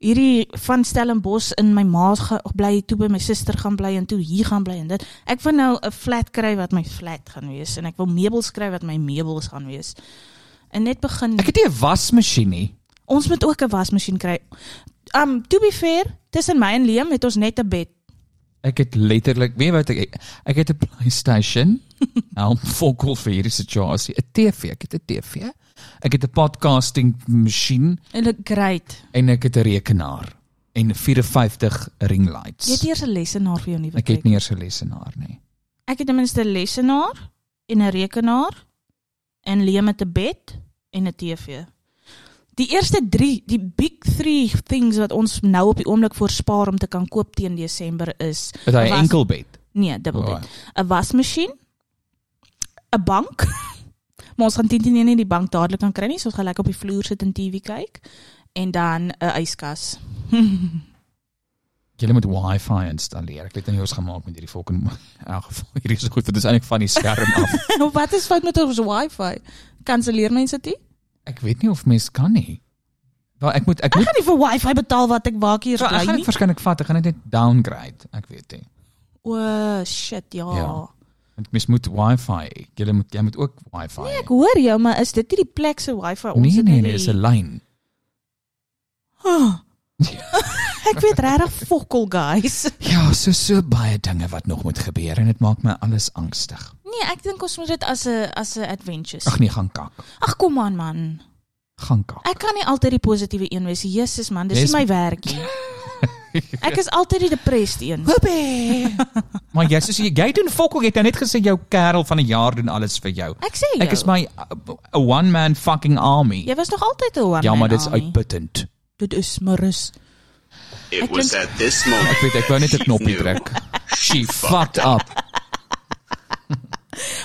B: hierdie van Stellenbosch in my ma se bly toe by my suster gaan bly en toe hier gaan bly en dit. Ek wil nou 'n flat kry wat my flat gaan wees en ek wil meubels kry wat my meubels gaan wees. En net begin
A: Ek het nie 'n wasmasjien nie.
B: Ons moet ook 'n wasmasjien kry. Um to be fair, tussen my en Liam het ons net 'n bed.
A: Ek het letterlik, weet jy wat ek ek het 'n PlayStation. Nou fokol vir hierdie situasie. 'n TV, ek het 'n TV. Ek het 'n podcasting masjien
B: En dit great.
A: en ek het 'n rekenaar en 54 ring
B: Jy het
A: lights.
B: eers 'n lesenaar vir jou nuwe
A: Ek het nie eers 'n lesenaar nie.
B: Ek het ten minste 'n lesenaar en 'n rekenaar en Liam het 'n bed en 'n TV. Die eerste 3, die big 3 things wat ons nou op die oomblik voorspaar om te kan koop teen Desember is
A: Het hy 'n
B: was-
A: enkelbed?
B: nee, dubbelbed.
A: Oh.
B: 'n Wasmasjien, 'n bank. maar ons gaan teen teen nie nee, die bank dadelik kan kry nie, so ons gaan lekker op die vloer sit en TV kyk en dan 'n yskas.
A: Jy moet Wi-Fi installeer. Ek weet nie hoe ons gemaak met hierdie fucking in elk geval hierdie is goed. Dit is eintlik van die skerm af.
B: wat is fout met ons Wi-Fi? Kanselleer mense dit?
A: Ek weet nie of mens kan nie. Wel, ek moet ek
B: Ek
A: moet
B: gaan nie vir wifi betaal wat ek waar hier
A: so, ek gaan
B: bly
A: dit
B: nie.
A: waarskynlik vat, ek gaan dit net downgrade, ek weet nie.
B: O, shit, ja.
A: Ja. Want mens moet Wi-Fi. Jy moet jy moet ook Wi-Fi.
B: Nee, ek hoor jou, maar is dit nie die plek se wifi ons
A: nee,
B: het
A: nee,
B: net
A: nee,
B: die-
A: is 'n lyn.
B: Ah. ek weet regtig fokol guys.
A: Ja, so so baie dinge wat nog moet gebeur en dit maak my alles angstig.
B: Nee, ek dink ons moet dit as 'n as 'n adventure.
A: Ag
B: sien.
A: nee, gaan kak.
B: Ag kom aan man.
A: Gaan kak.
B: Ek kan nie altyd die positiewe een wees. Jesus man, dis
A: Dis-
B: nie my werk nie. Ek is altyd die depressed een.
A: Hoppie. maar jy soos jy, jy doen fokol, jy het nou net gesê jou kerel van 'n jaar doen alles vir jou.
B: Ek sê jou.
A: Ek is my uh, a one man fucking army.
B: Jy was nog altyd 'n one
A: ja, maar
B: man
A: dit's
B: army.
A: uitputtend.
B: Dit is Marus.
D: It
B: Ek
D: was
B: dink-
D: at this moment.
A: Ek weet ek wou net 'n
D: she
A: knoppie
D: knew.
A: druk. She fucked up.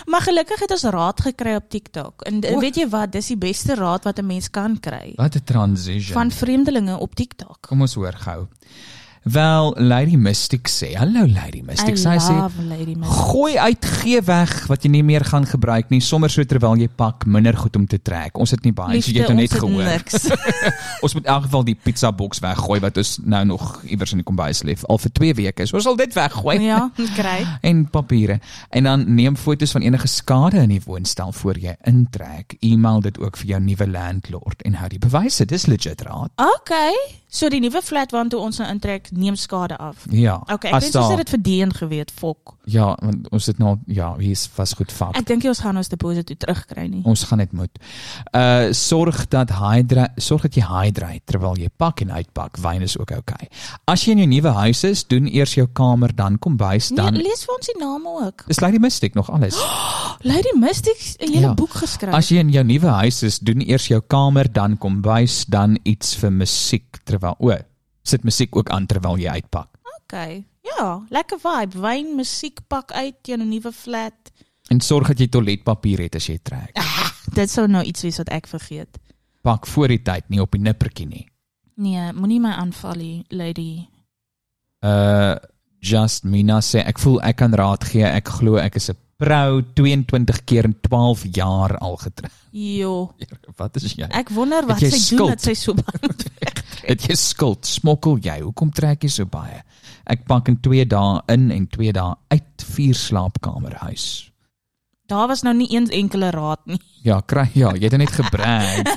B: Maar gelukkig het ons raad gekry op TikTok. En d-
A: O.
B: weet jy wat, dis die beste raad wat 'n mens kan kry
A: Wat 'n transition.
B: van vreemdelinge op TikTok.
A: Kom ons hoor gou. Wel, Lady Mystic sê, hallo Lady
B: I
A: Mystic. Sy sê
B: love Lady Miss.
A: Gooi uit, gee weg wat jy nie meer gaan gebruik nie, sommer so terwyl jy pak minder goed om te trek. Ons het nie baie, so jy het nou net
B: ons
A: gehoor.
B: het niks.
A: Ons moet in elk geval die pizza boks weggooi wat ons nou nog iewers in die kombuis lê al vir 2 weke. So ons sal dit weggooi.
B: ja, kry.
A: en papiere en dan neem foto's van enige skade in die woonstel voor jy intrek. E-mail dit ook vir jou nuwe landlord en hou die bewyse. Dis legit raad.
B: Okay, so die nuwe flat waartoe ons nou intrek, neem skade af.
A: Ja.
B: Okay, ek dink ons het dit verdien geweet, fok.
A: Ja, want ons het nou ja, hier is vas goed vat.
B: Ek dink nie ons gaan ons deposito toe terugkry nie.
A: Ons gaan dit moet. Uh sorg dat hydra sorg dat jy hydrate terwyl jy pak en uitpak. Wyn is ook oukei. Okay. As jy in jou nuwe huis is, doen eers jou kamer dan kombuis
B: Nee,
A: dan.
B: lees vir ons die name ook.
A: Dis Lady Mystic nog alles.
B: Lady Mystic het 'n hele
A: Ja.
B: boek geskryf.
A: As jy in jou nuwe huis is, doen eers jou kamer, dan kombuis, dan iets vir musiek terwyl o, sit musiek ook aan terwyl jy uitpak.
B: Okay. Ja, lekker vibe, wyn, musiek pak uit teen 'n nuwe flat.
A: En sorg dat jy toiletpapier het as jy trek.
B: Dit sou nou iets wees wat ek vergeet.
A: Pak voor die tyd, nie op die nippertjie nie.
B: Nee, moenie my aanval nie, lady.
A: Uh just Mina sê ek voel ek kan raad gee. Ek glo ek is 'n vrou 22 keer in 12 jaar al getrek.
B: Jo,
A: Wat is jy?
B: ek wonder wat
A: jy
B: sy doen
A: skuld?
B: dat sy so baie.
A: Het jy skuld? Smokkel jy? Hoekom trek jy so baie? Ek pak in 2 dae in en 2 dae uit vier slaapkamerhuis.
B: Daar was nou nie eens enkele raad nie.
A: Ja, kry ja, jy het dit net gebrand.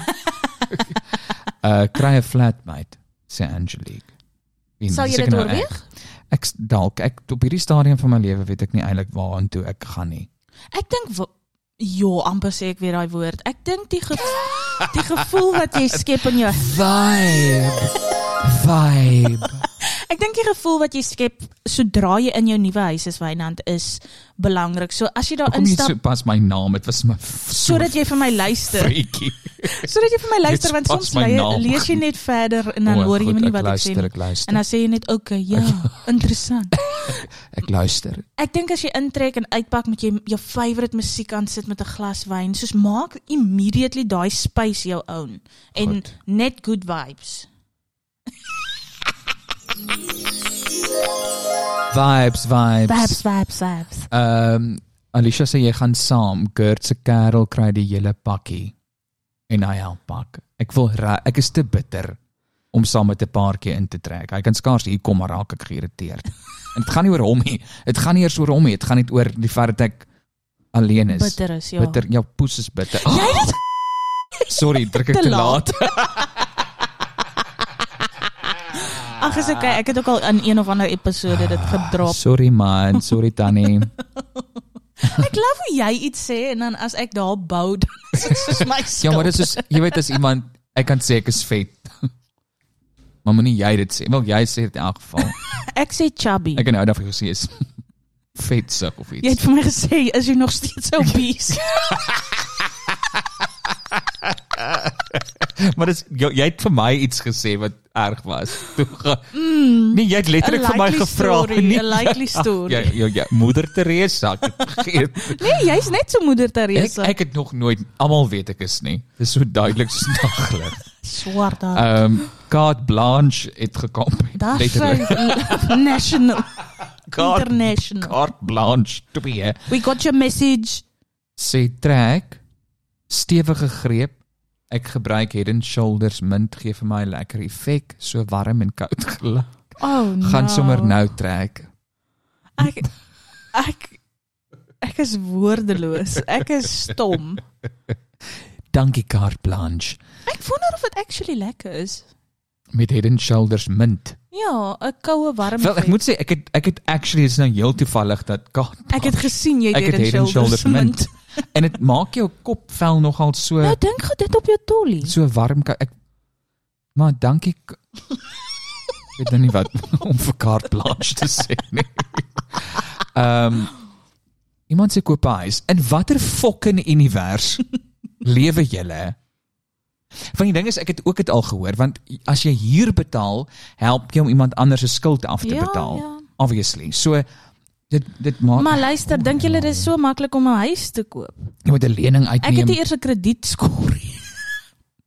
A: uh kry 'n flatmate, sê Angelique. En
B: Sal jy
A: seker
B: dit
A: nou
B: oorweeg?
A: Ek, ek s- dalk ek op hierdie stadium van my lewe weet ek nie eintlik waartoe ek gaan nie.
B: Ek dink wa- ja, amper sê ek weer daai woord. Ek dink die gevo die gevoel wat jy skep in jou
A: Vibe. Vibe.
B: Ek dink die gevoel wat jy skep sodra jy in jou nuwe huis is, Wynand, is belangrik. So as jy daar
A: Kom jy
B: instap
A: sopas my naam, dit was my f- so
B: sodat jy vir my luister.
A: freakie.
B: Sodat jy vir my luister want
A: pas
B: soms
A: my
B: le
A: naam.
B: lees jy net verder en Nou, dan
A: O,
B: hoor jy
A: Oh, goed,
B: nie
A: ek
B: wat ek sê
A: luister,
B: nie.
A: ek luister.
B: En dan sê jy net okay, ja, interessant.
A: Ek luister.
B: Ek dink as jy intrek en uitpak moet jy jou favourite musiek aan sit met 'n glas wyn. Soos maak immediately daai space jou own en
A: Goed.
B: net good vibes.
A: Vibes, vibes.
B: Vibes, vibes, vibes.
A: Ehm um, Alicia sê jy gaan saam. Gert se kerel kry die hele pakkie en hy help pak. Ek wil ra- ek is te bitter om saam met 'n paartjie in te trek. Hy kan skaars hier kom maar raak ek geïrriteerd. en dit gaan nie oor hom nie. Dit gaan nie eers oor hom nie. Dit gaan net oor die feit dat ek alleen is.
B: Bitter is ja.
A: Bitter, jou poes is bitter. Oh,
B: Jy het
A: sorry, druk ek
B: Te
A: te laat.
B: Ag, is okay. Ek het ook al in een of ander episode dit gedrop.
A: sorry man, sorry tannie. Ah.
B: Ek glo hoe jy iets sê en dan as ek daar bou, dan is dit soos my skuld.
A: Ja, maar dit is soos- jy weet as iemand ek kan sê ek is vet. Maar moenie jy dit sê. Wel jy sê dit in elk geval.
B: ek sê chubby.
A: Ek en nou daarvan gesê is vet suk of
B: Jy
A: iets.
B: het vir my gesê is jy nog steeds obese.
A: maar dis jy, jy het vir my iets gesê wat erg was. Toe ga, nee, jy het letterlik
B: a
A: vir my
B: likely
A: gevra.
B: Mm. story,
A: Nee,
B: a likely story.
A: Ja, ja, ja, moeder Teresa. ek het vergeet.
B: Nee, jy's net so moeder
A: ek
B: Teresa.
A: ek het nog nooit almal weet ek is nie. Dis so duidelik snaaglik.
B: swart haar.
A: Ehm um, Carte Blanche het gekom.
B: Dag sy national international.
A: Carte Blanche 2
B: We got your message.
A: sê trek stewige greep Ek gebruik Head and Shoulders mint gee vir my 'n lekker effek, so warm en koud geluk.
B: Oh, no.
A: Gaan sommer nou trek.
B: Ek ek ek is woordeloos. Ek is stom.
A: Dankie Carte Blanche
B: Ek wonder of dit actually lekker is.
A: met Head and Shoulders mint.
B: Ja, 'n koue warm.
A: Wel, ek
B: effect.
A: moet sê ek het ek het actually is nou heel toevallig dat Carte
B: Ek het gesien jy
A: Ek
B: het
A: het
B: dit
A: Head and
B: in
A: Shoulders
B: shoulders mint.
A: en dit maak jou kop vel nogal so
B: Nou dink gou dit op jou tollie.
A: so warm kan ek maar dankie K- ek weet nou nie wat om vir kaart blanche te sê nie. Ehm um, iemand se koop 'n huis. In watter fucking univers lewe julle? Van die ding is ek het ook dit al gehoor want as jy huur betaal, help jy om iemand anders se skuld af te
B: Ja,
A: betaal.
B: ja.
A: Obviously. So dit dit maak
B: Maar luister, dink julle dis so maklik om 'n huis te koop?
A: jy moet 'n lening
B: Ek
A: uitneem
B: het nie eers 'n kredietskoor nie.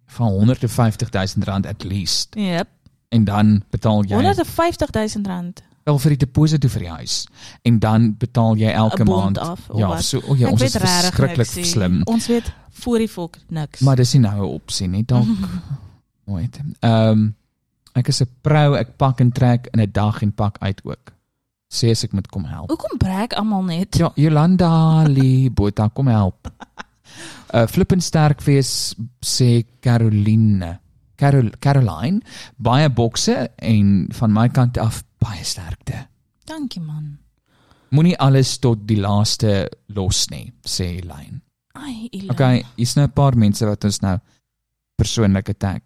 A: van 150 000 rand at least
B: Yep.
A: en dan betaal nee. jy
B: 150 000 rand.
A: wel vir die deposito vir die huis en dan betaal jy elke
B: 'n bond
A: maand
B: af, of
A: ja
B: wat?
A: so o ja
B: Ek
A: ons
B: weet
A: is
B: regtig
A: verskriklik
B: niks, hè.
A: slim
B: Ons weet voor die volk niks.
A: maar dis nie nou 'n opsie nie dalk nooit ehm ek is 'n vrou ek pak en trek in 'n dag en pak uit ook sê as ek moet kom help
B: Hoekom breek almal net?
A: ja Jolanda Lee Botha kom help uh flippend sterk wees sê Caroline Carol Caroline baie bokse en van my kant af baie sterkte
B: Dankie man.
A: Moenie alles tot die laaste los nie, sê Elaine.
B: Ai, Ila.
A: Okay, hier's nou 'n paar mense wat ons nou persoonlik attack.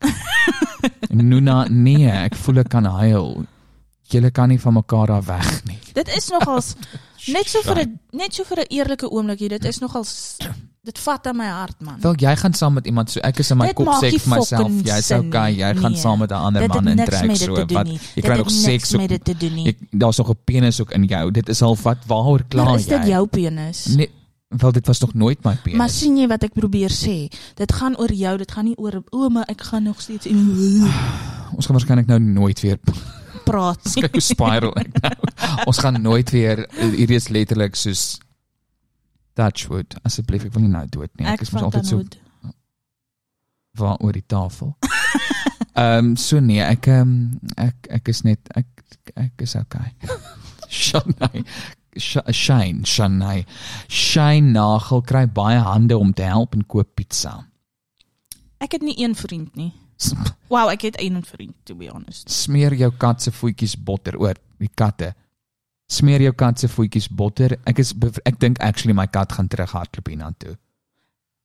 A: Nuna, nee, ek voel ek kan huil. Julle kan nie van mekaar daar weg nie.
B: Dit is
A: Oh,
B: nogals net so vir 'n net so vir 'n eerlike oomblikie, dit is nogals dit vat aan my hart man.
A: Wel, jy gaan saam met iemand so ek is in my
B: Dit
A: kop
B: maak
A: sê ek
B: nie
A: vir myself,
B: fucking
A: jy's
B: sin
A: okay, jy
B: nie.
A: gaan
B: Nee.
A: saam met 'n ander
B: dit
A: man
B: het niks
A: intrek
B: met dit
A: so
B: te doen
A: wat
B: nie.
A: jy
B: Dit
A: kry nog
B: het niks
A: seks
B: met
A: ook.
B: dit te doen nie.
A: Jy daar's nog 'n penis ook in jou. Dit is al wat waaroor
B: maar
A: klaar
B: is dit
A: jy.
B: jou penis?
A: Nee, wel dit was nog nooit my penis.
B: Maar sien jy wat ek probeer sê? Dit gaan oor jou, dit gaan nie oor o, maar ek gaan nog steeds
A: Ons gaan waarskynlik nou nooit weer
B: praat.
A: kyk hoe spiral ek nou. Ons gaan nooit weer hierdie is letterlik soos Touchwood. Asseblief, ek wil nie nou dood nie. Ek,
B: Ek
A: ek is mos
B: vat dan
A: altyd so
B: hoed.
A: waar oor die tafel. Ehm um, so nee, ek ehm um, ek ek is net ek ek is okay. Shanay Sh- Shane, Shanay. Shane Nagel kry baie hande om te help en koop pizza.
B: Ek het nie een vriend nie. Wow, ek het een vriend to be honest.
A: smeer jou kat se voetjies botter oor die katte. Smeer jou kat se voetjies botter. Ek is bev- ek dink actually my kat gaan terug hardloop hiernatoe.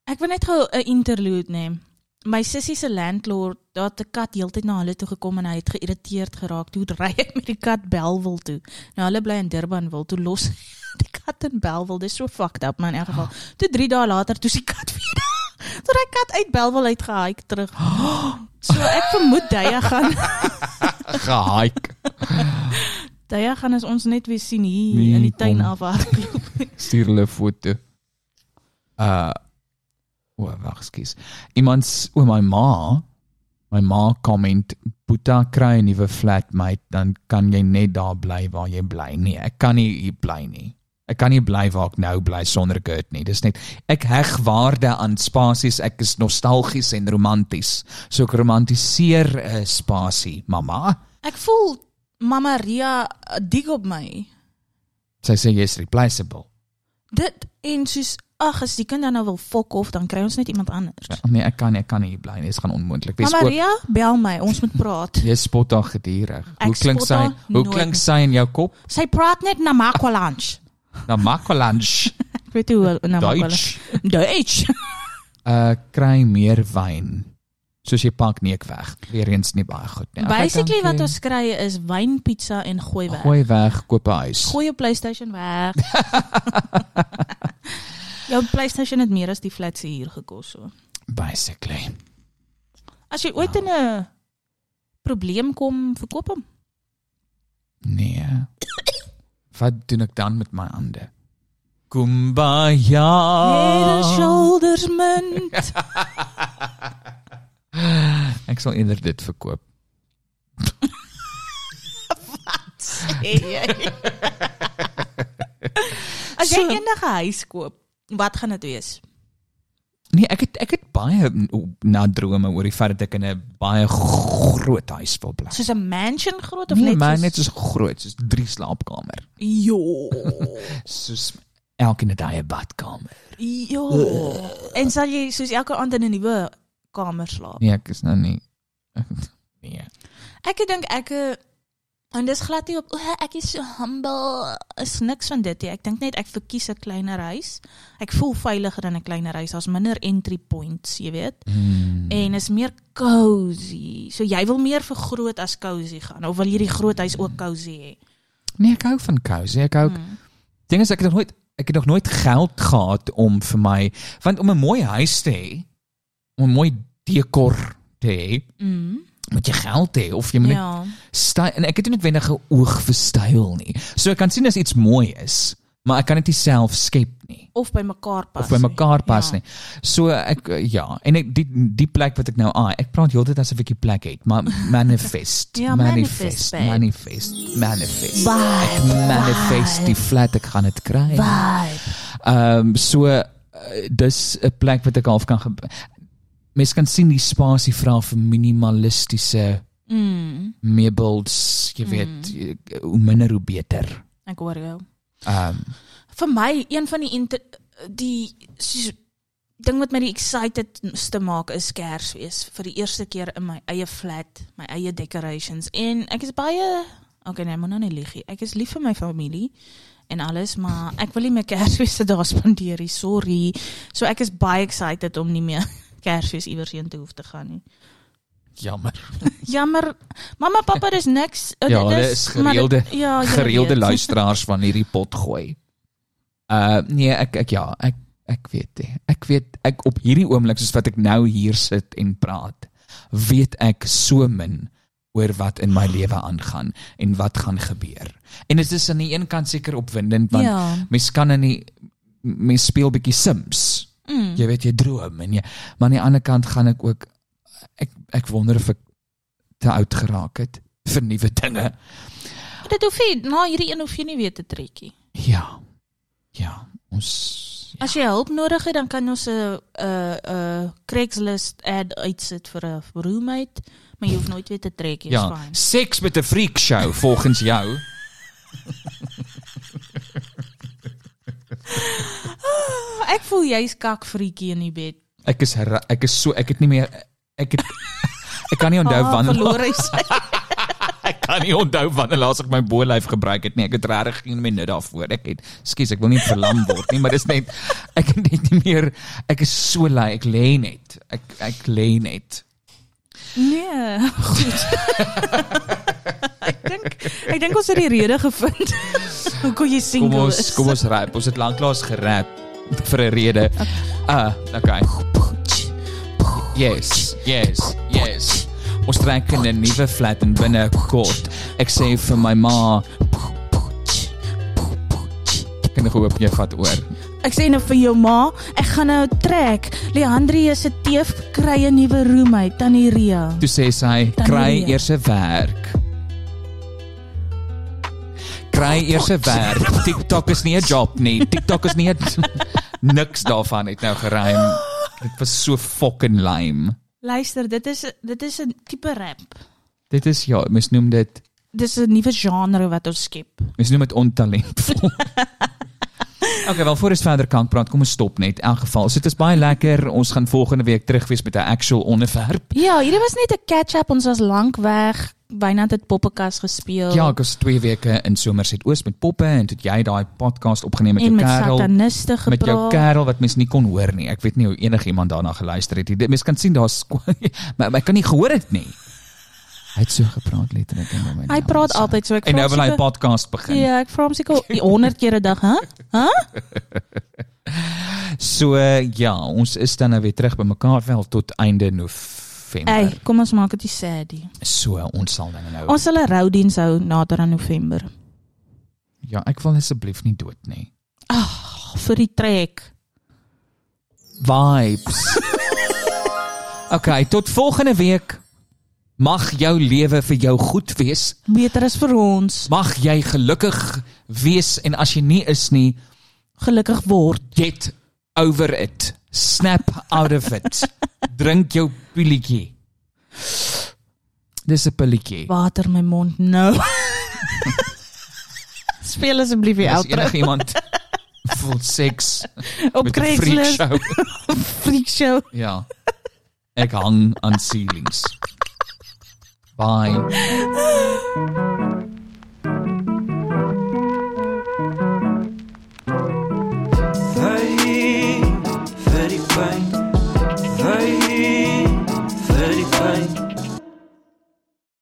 B: Ek wil net gou 'n interlude neem. My sussie se landlord, daar het 'n kat heeltyd na hulle toe gekom en hy het geïrriteerd geraak. Toe ry ek met die kat Belwel toe. Nou hulle bly in Durbanville, toe los die kat in Belwel. Dis so fucked up man in elk geval. Toe 3 dae later toe is die kat weer daar. Toe die kat uit Belwel uitgehike terug. So ek vermoed Daya gaan
A: Gehike.
B: Daya gaan as ons net weer sien hier
A: Nee,
B: in die tuin
A: kom.
B: afhardloop.
A: Stuur hulle foto. Uh O, wag, skus. Iemand s- o my ma, my ma comment, "Boeta kry 'n nuwe flatmate, dan kan jy net daar bly waar jy bly." Nee, ek kan nie hier bly nie. Ek kan nie bly waar ek nou bly sonder Gert nie. Dis net ek heg waarde aan spasies. Ek is nostalgies en romanties. So ek romantiseer 'n spasie, mamma.
B: Ek voel Mama Ria eh, dig op my.
A: Sy sê jy's replaceable.
B: Dit en soos ag as die kind dan nou wil fok of dan kry ons net iemand anders. Ja,
A: Nee, ek kan nie, ek kan nie hier bly nie. Dit gaan onmoontlik wees.
B: maar
A: Ook-
B: Maria, bel my, ons moet praat.
A: Jy spot haar gedurig. Hoe
B: Ek
A: klink
B: spot
A: sy?
B: haar
A: Hoe
B: nooit.
A: klink sy in jou kop?
B: Sy praat net na Makwalanch.
A: Na Makolanch.
B: Ek weet nie hoe na Makwalanch.
A: Duits.
B: Duits. Ja,
A: Uh kry meer wyn. Soos jy pak neek weg. Weereens nie baie goed nie. Okay,
B: Basically wat
A: dankie.
B: ons kry is wynpizza en gooi weg.
A: gooi weg koop 'n huis.
B: Gooi jou PlayStation weg. jou PlayStation het meer as die flat se huur gekos so.
A: Basically.
B: As jy ooit in 'n probleem kom, verkoop hom.
A: Nee. Wat doen ek dan met my hande? Kumbaya.
B: Ah. Hele shoulders mint.
A: Ek sal eerder dit verkoop.
B: As jy
A: So-
B: eendag 'n huis koop, wat gaan dit wees?
A: Nee, ek het ek het baie o, na drome oor die feit dat ek in 'n baie groot huis wil bly.
B: Soos 'n mansion groot of
A: Nee,
B: net
A: maar
B: soos- Ja.
A: net soos groot, soos drie slaapkamer.
B: Jo.
A: Soos elkeen het hy 'n badkamer. Ja.
B: Jo. Ja. En sal jy soos elke aand in 'n nuwe kamer slaap?
A: Nee, ek is nou nie Nee.
B: Ek dink ek eh, en dis glad nie op o, ek is so humble is niks van dit nie. Ek dink net ek verkies 'n kleiner huis. Ek voel veiliger in 'n kleiner huis. Daar's minder entry points, jy weet.
A: Hmm.
B: En is meer cozy. So jy wil meer vir groot as cozy gaan of wil jy die groot huis ook cozy hê?
A: Nee, ek hou van cozy. Ek hou
B: Hmm.
A: ding is ek het nog nooit ek het nog nooit geld gehad om vir my want om 'n mooi huis te hê, om 'n mooi dekor te hê,
B: Mm.
A: moet jy geld hê of jy moet net
B: Ja.
A: styl en ek het nie noodwendig 'n oog vir styl nie. So ek kan sien as iets mooi is, maar ek kan dit nie self skep nie
B: Of by mekaar pas.
A: of by mekaar pas
B: Ja.
A: nie. So ek eh, ja, en ek die die plek wat ek nou aan, ah, ek praat heeltyd asof ek die plek het, maar manifest,
B: Ja,
A: manifest,
B: manifest, babe.
A: manifest, manifest.
B: Vibe,
A: Ek manifest die flat ek gaan dit kry.
B: Vibe.
A: Ehm um, so uh, dis 'n plek wat ek half kan ge- mens kan sien die spasie vra vir minimalistiese
B: Mm.
A: meubels, jy weet, eh, hoe minder hoe beter.
B: Ek hoor jou.
A: Ehm um,
B: vir my een van die inter, die soos- ding wat my die excitedste maak is Kersfees vir die eerste keer in my eie flat, my eie decorations en ek is baie okay nee, moet nou nie lieg nie. Ek is lief vir my familie en alles, maar ek wil nie my Kersfees se daar spandeer nie. Sorry. So ek is baie excited om nie meer Kersfees iewers heen te hoef te gaan nie.
A: jammer.
B: Jammer. Mamma, pappa, dis niks. Uh,
A: Ja,
B: dit
A: hulle is
B: maar dit-
A: gereelde
B: ja, julle
A: gereelde
B: weet.
A: luisteraars van hierdie pot gooi. Uh nee, ek ek ja, ek ek weet nie. Ek weet ek op hierdie oomblik soos wat ek nou hier sit en praat, weet ek so min oor wat in my lewe aangaan en wat gaan gebeur. En dit is aan die een kant seker opwindend want ja.
B: Ja.
A: mens kan in die mens speel bietjie Sims.
B: Mm.
A: Jy weet jy droom en jy maar aan die ander kant gaan ek ook ek ek wonder of ek te oud geraak het vir nuwe dinge.
B: Dit hoef nie, na hierdie een hoef jy nie weer te trekkie.
A: Ja. Ja, ons
B: As jy hulp nodig het, dan kan ons 'n 'n 'n Craigslist ad uitsit vir 'n roommate, maar jy hoef nooit weer te trek nie,
A: ja,
B: fyn.
A: seks met 'n freak show volgens jou.
B: Ah, Ek voel jy's kakfreekie in die bed.
A: Ek is ra- ek is so ek het nie meer ek het ek kan nie onthou
B: Ah,
A: Nou, wanneer
B: verloor is.
A: ek kan nie onthou wanneer laas ek my bolyf gebruik het nie. Ek het regtig geen minuut daarvoor. Ek het skus, ek wil nie verlam word nie, maar dis net ek het net nie meer ek is so lui. Ek lê net. Ek ek lê net.
B: nee, goed. ek dink ek dink ons het die rede gevind. Hoekom jy
A: Kom
B: single
A: ons
B: is.
A: kom ons rap. Ons het lanklaas gerap vir 'n rede. Ah, okay. Yes, yes, yes. Ons trek in 'n nuwe flat en binne kort. Ek sê vir my ma, kan ek hoop jy vat oor.
B: Ek sê nou vir jou ma, ek gaan nou trek. Leandrie se teef kry 'n nuwe roommate, Tannie Ria.
A: Toe sê sy,
B: Dan
A: kry
B: nie.
A: eers 'n werk. Kry eers 'n werk. TikTok is nie 'n job nie. TikTok is nie 'n niks daarvan het nou geruim. Dit was so fucking lame.
B: Luister, dit is dit is 'n tipe rap.
A: Dit is ja, mens noem dit
B: Dis 'n nuwe genre wat ons skep.
A: mens noem dit ontalentvol. Okay, wel voor ons verder kan praat, kom ons stop net. In elk geval, so dit is baie lekker. Ons gaan volgende week terug wees met 'n actual onderwerp.
B: Ja, hierdie was net 'n catch-up. Ons was lank weg. Wynand het poppekas gespeel.
A: Ja, ek was 2 weke in Somerset Oos met Poppe en toe het jy daai podcast opgeneem met
B: en
A: jou
B: met
A: kerel.
B: sataniste gepraat.
A: met jou kerel wat mens nie kon hoor nie. Ek weet nie hoe enigiemand daarna geluister het nie. Dit- Mens kan sien daar's maar maar ek kan nie gehoor het nie. Hy het so gepraat letterlik en hom.
B: Hy praat altyd so ek
A: En
B: vra
A: nou
B: hom
A: wil hy 'n
B: seker-
A: podcast begin.
B: Ja, ek vra hom seker 100 keer 'n dag, hè?
A: So eh, ja, ons is dan nou weer terug by mekaar wel tot einde November.
B: Ey, kom ons maak dit nie sad nie.
A: So ons sal dan nou
B: Ons sal 'n roudiens hou nader aan November.
A: Ja, ek wil asseblief nie dood nie.
B: Vir die trek.
A: Vibes. okay, tot volgende week. Mag jou lewe vir jou goed wees.
B: Beter is vir ons.
A: Mag jy gelukkig wees en as jy nie is nie,
B: Gelukkig word.
A: get over it. Snap out of it. Drink jou pilletjie. Dis 'n pilletjie.
B: Water my mond nou. Speel asseblief die
A: As
B: outro
A: enige iemand voel seks
B: op
A: met 'n freak
B: Craigslist
A: show.
B: freak show.
A: Ja. Ek hang aan ceilings. Bye.